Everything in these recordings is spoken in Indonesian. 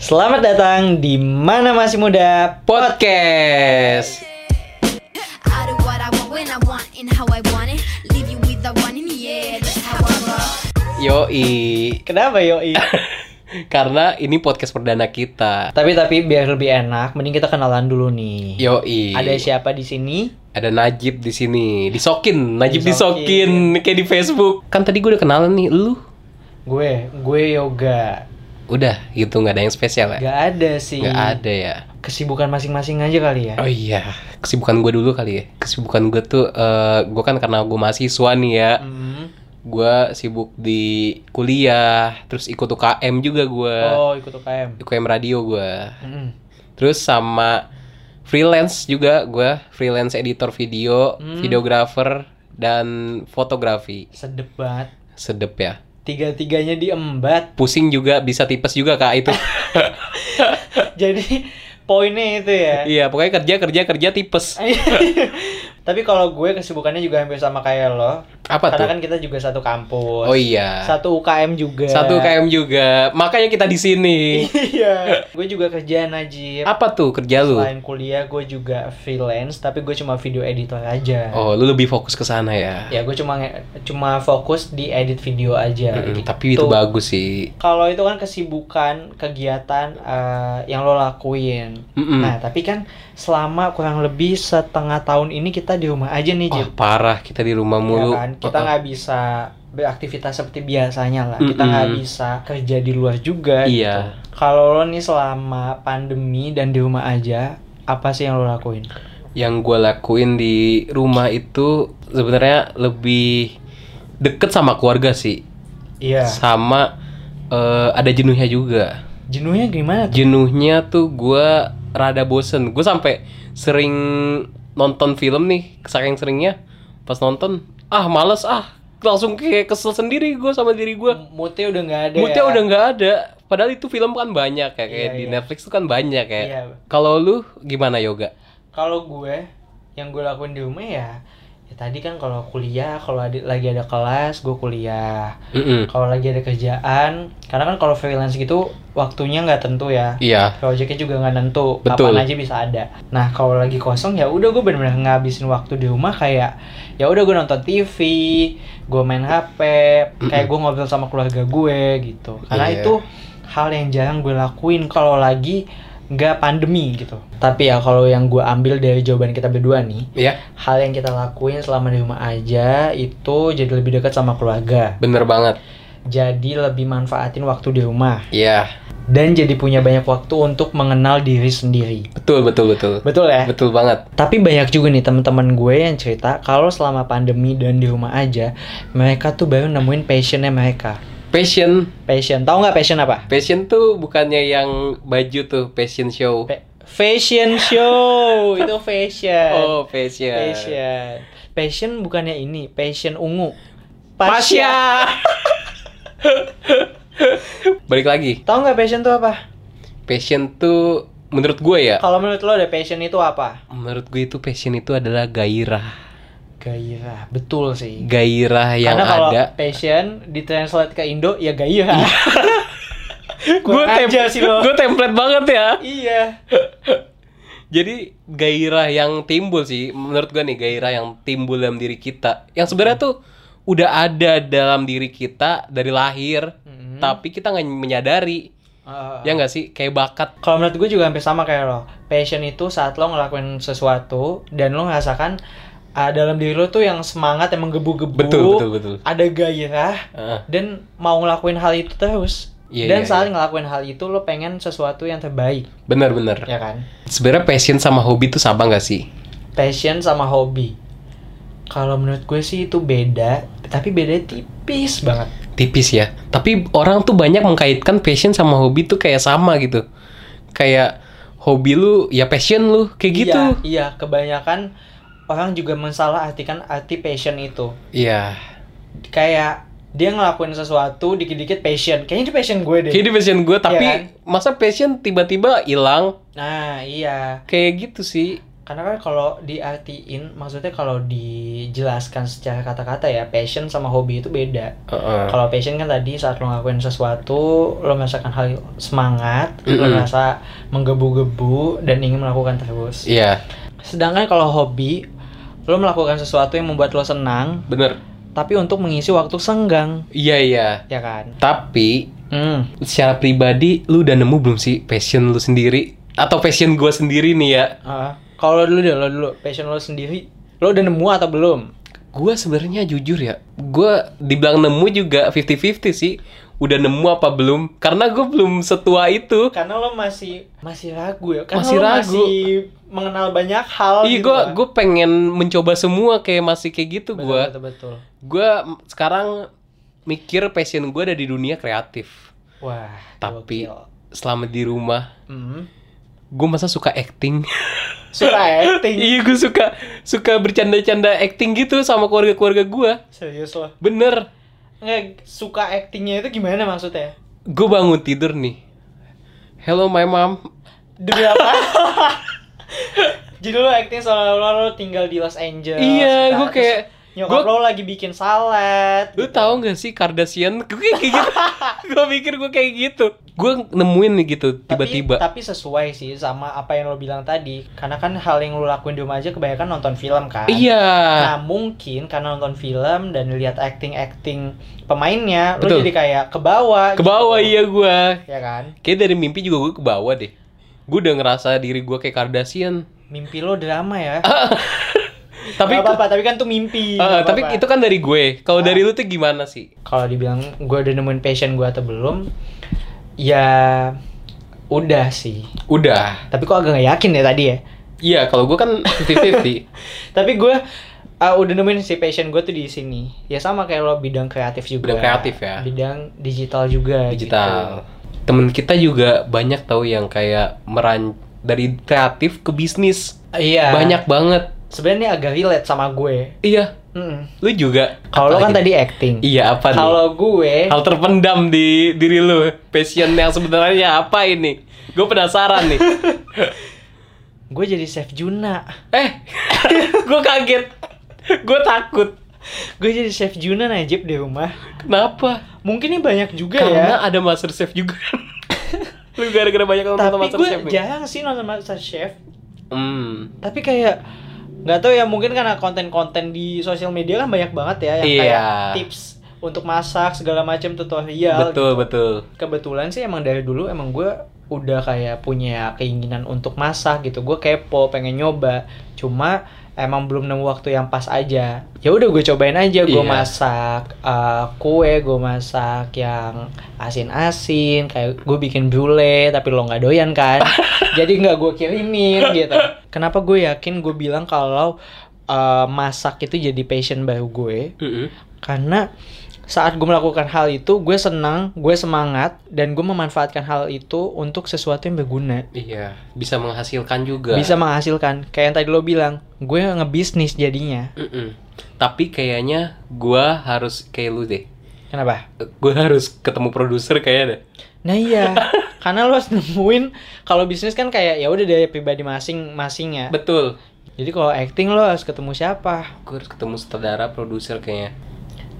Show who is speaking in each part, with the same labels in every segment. Speaker 1: Selamat datang di Mana Masih Muda
Speaker 2: Podcast.
Speaker 3: I do what I want when I want and how I want it. Leave you with the one in the air. That's how I roll.
Speaker 2: Yoi.
Speaker 1: Kenapa Yoi?
Speaker 2: Karena ini podcast perdana kita.
Speaker 1: tapi tapi biar lebih enak, mending kita kenalan dulu nih.
Speaker 2: Yoi.
Speaker 1: Ada siapa di sini?
Speaker 2: Ada Najib di sini. Disokin, Najib
Speaker 1: Disokin.
Speaker 2: disokin. kayak di Facebook. Kan tadi gue udah kenalan nih, lu.
Speaker 1: Gue, gue Yoga.
Speaker 2: Udah, gitu nggak ada yang spesial ya?
Speaker 1: Gak ada sih.
Speaker 2: Nggak ada ya.
Speaker 1: Kesibukan masing-masing aja kali ya.
Speaker 2: Oh iya, kesibukan gue dulu kali ya. Kesibukan gue tuh, eh gue kan karena gue mahasiswa nih ya.
Speaker 1: Mm.
Speaker 2: Gue sibuk di kuliah, terus ikut UKM juga gue.
Speaker 1: Oh, ikut UKM.
Speaker 2: UKM radio gue.
Speaker 1: Mm.
Speaker 2: Terus sama freelance juga gue, freelance editor video,
Speaker 1: Hmm.
Speaker 2: videographer dan fotografi.
Speaker 1: Sedep banget.
Speaker 2: Sedep ya.
Speaker 1: Tiga-tiganya diembat.
Speaker 2: Pusing juga bisa tipes juga Kak itu.
Speaker 1: Jadi poinnya itu ya.
Speaker 2: iya, pokoknya kerja kerja kerja tipes.
Speaker 1: Tapi kalau gue kesibukannya juga hampir sama kayak lo.
Speaker 2: Apa
Speaker 1: Karena
Speaker 2: tuh?
Speaker 1: kan kita juga satu kampus.
Speaker 2: Oh iya.
Speaker 1: Satu UKM juga.
Speaker 2: Satu KM juga. Makanya kita di sini.
Speaker 1: Iya. gue juga kerja Najib.
Speaker 2: Apa tuh kerja lu?
Speaker 1: Iya. Selain kuliah gue juga freelance, tapi gue cuma video editor aja.
Speaker 2: Oh, lu lebih fokus ke sana ya.
Speaker 1: Ya gue cuma nge- cuma fokus di edit video aja.
Speaker 2: Mm-mm,
Speaker 1: gitu.
Speaker 2: Tapi itu bagus sih.
Speaker 1: Kalau itu kan kesibukan, kegiatan eh, yang lo lakuin.
Speaker 2: Mm-mm.
Speaker 1: Nah, tapi kan selama kurang lebih setengah tahun ini kita di rumah aja nih,
Speaker 2: Wah,
Speaker 1: Jip.
Speaker 2: parah kita di rumah
Speaker 1: Ya
Speaker 2: mulu.
Speaker 1: kan? Kita
Speaker 2: Oh, oh.
Speaker 1: nggak bisa beraktivitas seperti biasanya lah. Kita nggak
Speaker 2: Mm-mm.
Speaker 1: bisa kerja di luar juga.
Speaker 2: Iya.
Speaker 1: gitu. Kalau lo nih selama pandemi dan di rumah aja, apa sih yang lo lakuin?
Speaker 2: yang gue lakuin di rumah itu sebenarnya lebih deket sama keluarga sih
Speaker 1: Iya.
Speaker 2: sama eh, ada jenuhnya juga
Speaker 1: Jenuhnya gimana tuh?
Speaker 2: jenuhnya tuh gue rada bosen gue sampai sering nonton film nih saking seringnya pas nonton ah males ah langsung kayak kesel sendiri gue sama diri gue
Speaker 1: Moodnya udah nggak ada.
Speaker 2: moodnya
Speaker 1: ya?
Speaker 2: udah nggak ada padahal itu film kan banyak ya kayak
Speaker 1: Iya,
Speaker 2: di
Speaker 1: iya.
Speaker 2: Netflix tuh kan banyak ya
Speaker 1: Iya.
Speaker 2: kalau lu gimana yoga
Speaker 1: Kalau gue, yang gue lakuin di rumah ya, ya tadi kan kalau kuliah, kalau ada- lagi ada kelas, gue kuliah.
Speaker 2: Mm-mm.
Speaker 1: Kalau lagi ada kerjaan, karena kan kalau freelance gitu waktunya nggak tentu ya.
Speaker 2: iya
Speaker 1: Projectnya juga nggak nentu,
Speaker 2: Betul.
Speaker 1: kapan aja bisa ada. Nah kalau lagi kosong ya udah gue bener-bener ngabisin waktu di rumah kayak ya udah gue nonton TV, gue main HP, kayak gue ngobrol sama keluarga gue gitu. Karena
Speaker 2: Iya.
Speaker 1: itu hal yang jarang gue lakuin kalau lagi nggak pandemi gitu. Tapi ya kalau yang gue ambil dari jawaban kita berdua nih,
Speaker 2: iya
Speaker 1: hal yang kita lakuin selama di rumah aja itu jadi lebih dekat sama keluarga,
Speaker 2: bener banget
Speaker 1: jadi lebih manfaatin waktu di rumah
Speaker 2: iya
Speaker 1: dan jadi punya banyak waktu untuk mengenal diri sendiri.
Speaker 2: Betul, betul, betul.
Speaker 1: Betul ya?
Speaker 2: Betul banget.
Speaker 1: Tapi banyak juga nih teman-teman gue yang cerita kalau selama pandemi dan di rumah aja, mereka tuh baru nemuin passionnya mereka.
Speaker 2: Passion,
Speaker 1: Passion, tahu nggak passion apa?
Speaker 2: passion tuh bukannya yang baju tuh, passion show.
Speaker 1: Pe- fashion show, itu fashion.
Speaker 2: Oh, passion.
Speaker 1: Passion. Passion bukannya ini, passion ungu.
Speaker 2: Pasya. Balik lagi.
Speaker 1: Tahu nggak passion tuh apa?
Speaker 2: Passion tuh menurut gue ya,
Speaker 1: Kalau menurut lo ada passion itu apa?
Speaker 2: menurut gue itu passion itu adalah gairah.
Speaker 1: Gairah, betul sih.
Speaker 2: Gairah yang
Speaker 1: Karena kalau
Speaker 2: ada. Iya.
Speaker 1: passion ditranslate ke Indo ya gairah.
Speaker 2: Gue
Speaker 1: Kurang ajar sih lo.
Speaker 2: gue template banget ya.
Speaker 1: iya.
Speaker 2: Jadi gairah yang timbul sih, menurut gua nih gairah yang timbul dalam diri kita, yang sebenarnya tuh udah ada dalam diri kita dari lahir,
Speaker 1: Mm.
Speaker 2: tapi kita nggak menyadari,
Speaker 1: Uh,
Speaker 2: ya nggak sih, kayak bakat.
Speaker 1: Kalau menurut gue juga hampir sama kayak lo. Passion itu saat lo ngelakuin sesuatu dan lo ngerasakan ah, dalam diri lo tuh yang semangat yang menggebu-gebu.
Speaker 2: Betul, betul, betul.
Speaker 1: Ada gairah
Speaker 2: Heeh.
Speaker 1: dan mau ngelakuin hal itu terus.
Speaker 2: Iya,
Speaker 1: dan
Speaker 2: iya,
Speaker 1: saat ngelakuin hal itu lo pengen sesuatu yang terbaik,
Speaker 2: Bener-bener.
Speaker 1: ya kan?
Speaker 2: Sebenarnya passion sama hobi tuh sama nggak sih?
Speaker 1: Passion sama hobi. Kalau menurut gue sih itu beda, tapi beda tipis banget.
Speaker 2: Tipis ya. Tapi orang tuh banyak mengkaitkan passion sama hobi tuh kayak sama gitu. Kayak hobi lu ya passion lu kayak gitu.
Speaker 1: Iya, iya, kebanyakan orang juga mensalah artikan arti passion itu.
Speaker 2: Iya.
Speaker 1: Kayak dia ngelakuin sesuatu dikit-dikit passion. Kayaknya itu passion gue deh.
Speaker 2: Kayak di passion gue, tapi
Speaker 1: Iya
Speaker 2: masa passion tiba-tiba hilang?
Speaker 1: Nah, iya.
Speaker 2: Kayak gitu sih.
Speaker 1: karena kan kalau diartiin maksudnya kalau dijelaskan secara kata-kata ya passion sama hobi itu beda
Speaker 2: Heeh.
Speaker 1: kalau passion kan tadi saat lo ngelakuin sesuatu lo merasakan hal semangat lo
Speaker 2: Mm-mm.
Speaker 1: merasa menggebu-gebu dan ingin melakukan terus
Speaker 2: Iya,
Speaker 1: sedangkan kalau hobi lo melakukan sesuatu yang membuat lo senang
Speaker 2: bener.
Speaker 1: tapi untuk mengisi waktu senggang
Speaker 2: Iya iya.
Speaker 1: ya kan
Speaker 2: Tapi
Speaker 1: hmm.
Speaker 2: secara pribadi lu udah nemu belum sih passion lu sendiri atau passion gua sendiri nih ya?
Speaker 1: Ah, kalau dulu deh, lo dulu passion lo sendiri, lo udah nemu atau belum?
Speaker 2: Gua sebenarnya jujur ya, gua dibilang nemu juga 50-50 sih. Udah nemu apa belum? Karena gua belum setua itu.
Speaker 1: Karena lo masih masih ragu ya, karena
Speaker 2: Masih
Speaker 1: lo
Speaker 2: ragu.
Speaker 1: masih mengenal banyak hal.
Speaker 2: Iya,
Speaker 1: gitu
Speaker 2: gua
Speaker 1: kan.
Speaker 2: gua pengen mencoba semua kayak masih kayak gitu
Speaker 1: Betul,
Speaker 2: gua.
Speaker 1: betul, betul.
Speaker 2: Gua m- sekarang mikir passion gua ada di dunia kreatif.
Speaker 1: Wah,
Speaker 2: Tapi
Speaker 1: gokil.
Speaker 2: selama di rumah
Speaker 1: Hmm.
Speaker 2: gue masa suka acting
Speaker 1: suka acting,
Speaker 2: iya gue suka suka bercanda-canda acting gitu sama keluarga-keluarga gua
Speaker 1: serius lo.
Speaker 2: bener
Speaker 1: Nggak, suka actingnya itu gimana maksudnya?
Speaker 2: gue bangun tidur nih hello my mom
Speaker 1: Demi apa? Jadi lo acting seolah-olah lo tinggal di Los Angeles.
Speaker 2: iya
Speaker 1: gitu.
Speaker 2: gue kayak
Speaker 1: Terus nyokap
Speaker 2: gua-
Speaker 1: lo lagi bikin salad.
Speaker 2: lu tahu nggak sih Kardashian gue kayak gitu gue mikir gue kayak gitu gue nemuin nih gitu
Speaker 1: Tapi-
Speaker 2: tiba-tiba
Speaker 1: tapi, sesuai sih sama apa yang lo bilang tadi karena kan hal yang lo lakuin di rumah aja kebanyakan nonton film kan
Speaker 2: iya
Speaker 1: nah mungkin karena nonton film dan lihat acting acting pemainnya lo
Speaker 2: Betul.
Speaker 1: jadi kayak ke bawah
Speaker 2: ke bawah
Speaker 1: gitu.
Speaker 2: iya gue
Speaker 1: ya kan
Speaker 2: kayak dari mimpi juga gue ke bawah deh gue udah ngerasa diri gue kayak Kardashian
Speaker 1: mimpi lo drama ya
Speaker 2: Ah, tapi
Speaker 1: Nggak apa-apa tapi kan tuh mimpi
Speaker 2: Eh,
Speaker 1: nggak
Speaker 2: tapi
Speaker 1: apa-apa.
Speaker 2: itu kan dari gue kalau
Speaker 1: Ah.
Speaker 2: dari lu tuh gimana sih
Speaker 1: kalau dibilang gue udah nemuin passion gue atau belum ya udah sih
Speaker 2: udah
Speaker 1: tapi kok agak gak yakin ya tadi ya
Speaker 2: iya kalau gue kan 50-50
Speaker 1: tapi gue uh, udah nemuin si passion gue tuh di sini ya sama kayak lo bidang kreatif juga
Speaker 2: Bidang kreatif ya.
Speaker 1: bidang digital juga gitu.
Speaker 2: digital. Iya. Temen kita juga banyak tahu yang kayak meran dari kreatif ke bisnis.
Speaker 1: gitu. iya
Speaker 2: Banyak banget.
Speaker 1: sebenarnya agak relate sama gue
Speaker 2: Iya,
Speaker 1: Mm-mm.
Speaker 2: lu juga.
Speaker 1: kalau lo
Speaker 2: Apa
Speaker 1: kan
Speaker 2: lagi?
Speaker 1: tadi acting
Speaker 2: Iya, apa nih?
Speaker 1: kalau gue
Speaker 2: Hal terpendam di diri lu. Passion yang sebenarnya apa ini? Gue penasaran nih.
Speaker 1: gue jadi chef Juna
Speaker 2: eh, gue kaget. Gue takut.
Speaker 1: gue jadi chef Juna Najib di rumah
Speaker 2: Kenapa?
Speaker 1: mungkin ini banyak juga ya
Speaker 2: Karena ada master chef juga. lu gara-gara banyak yang nonton
Speaker 1: tapi
Speaker 2: master
Speaker 1: gue
Speaker 2: chef. ya? nih.
Speaker 1: jarang sih nonton MasterChef
Speaker 2: Hmm.
Speaker 1: tapi kayak nggak tahu ya mungkin karena konten-konten di sosial media kan banyak banget ya yang kayak
Speaker 2: Iya.
Speaker 1: tips untuk masak segala macam tutorial gitu.
Speaker 2: Betul, betul.
Speaker 1: kebetulan sih emang dari dulu emang gue udah kayak punya keinginan untuk masak gitu gue kepo pengen nyoba cuma emang belum nemu waktu yang pas aja ya udah gue cobain aja gue
Speaker 2: Iya.
Speaker 1: masak eh, kue gue masak yang asin-asin kayak gue bikin brulee tapi lo nggak doyan kan jadi nggak gue kirimin gitu kenapa gue yakin gue bilang kalau eh, masak itu jadi passion baru gue
Speaker 2: Mm-mm.
Speaker 1: karena saat gue melakukan hal itu gue senang gue semangat dan gue memanfaatkan hal itu untuk sesuatu yang berguna
Speaker 2: Iya, bisa menghasilkan juga.
Speaker 1: bisa menghasilkan kayak yang tadi lo bilang gue ngebisnis jadinya
Speaker 2: Mm-mm. Tapi kayaknya gua harus kayak lu deh.
Speaker 1: kenapa
Speaker 2: Gua harus ketemu produser kayaknya deh.
Speaker 1: nah iya karena lo harus nemuin kalau bisnis kan kayak ya udah dari pribadi masing-masing ya
Speaker 2: Betul.
Speaker 1: jadi kalau acting lo harus ketemu siapa
Speaker 2: Gua harus ketemu sutradara produser kayaknya.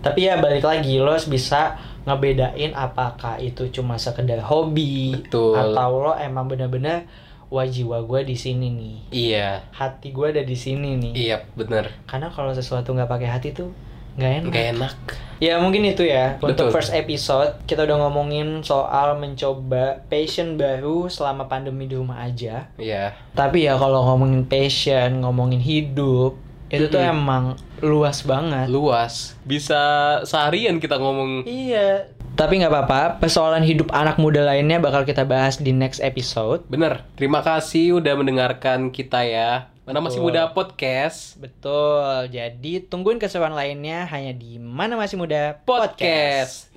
Speaker 1: tapi ya balik lagi lo harus bisa ngebedain apakah itu cuma sekedar hobi
Speaker 2: Betul.
Speaker 1: atau lo emang bener-bener wah jiwa gue di sini nih
Speaker 2: Iya.
Speaker 1: hati gue ada di sini nih
Speaker 2: Iya, bener.
Speaker 1: karena kalau sesuatu nggak pakai hati tuh nggak enak
Speaker 2: Gak enak.
Speaker 1: ya mungkin itu ya untuk
Speaker 2: Betul.
Speaker 1: first episode kita udah ngomongin soal mencoba passion baru selama pandemi di rumah aja
Speaker 2: Iya.
Speaker 1: tapi ya kalau ngomongin passion ngomongin hidup itu tuh
Speaker 2: Mm-mm.
Speaker 1: emang luas banget
Speaker 2: Luas. Bisa seharian kita ngomong.
Speaker 1: iya tapi nggak apa-apa persoalan hidup anak muda lainnya bakal kita bahas di next episode
Speaker 2: Bener. Terima kasih udah mendengarkan kita ya. Mana masih
Speaker 1: Betul.
Speaker 2: muda podcast.
Speaker 1: betul jadi tungguin keseruan lainnya hanya di mana masih muda
Speaker 2: Podcast.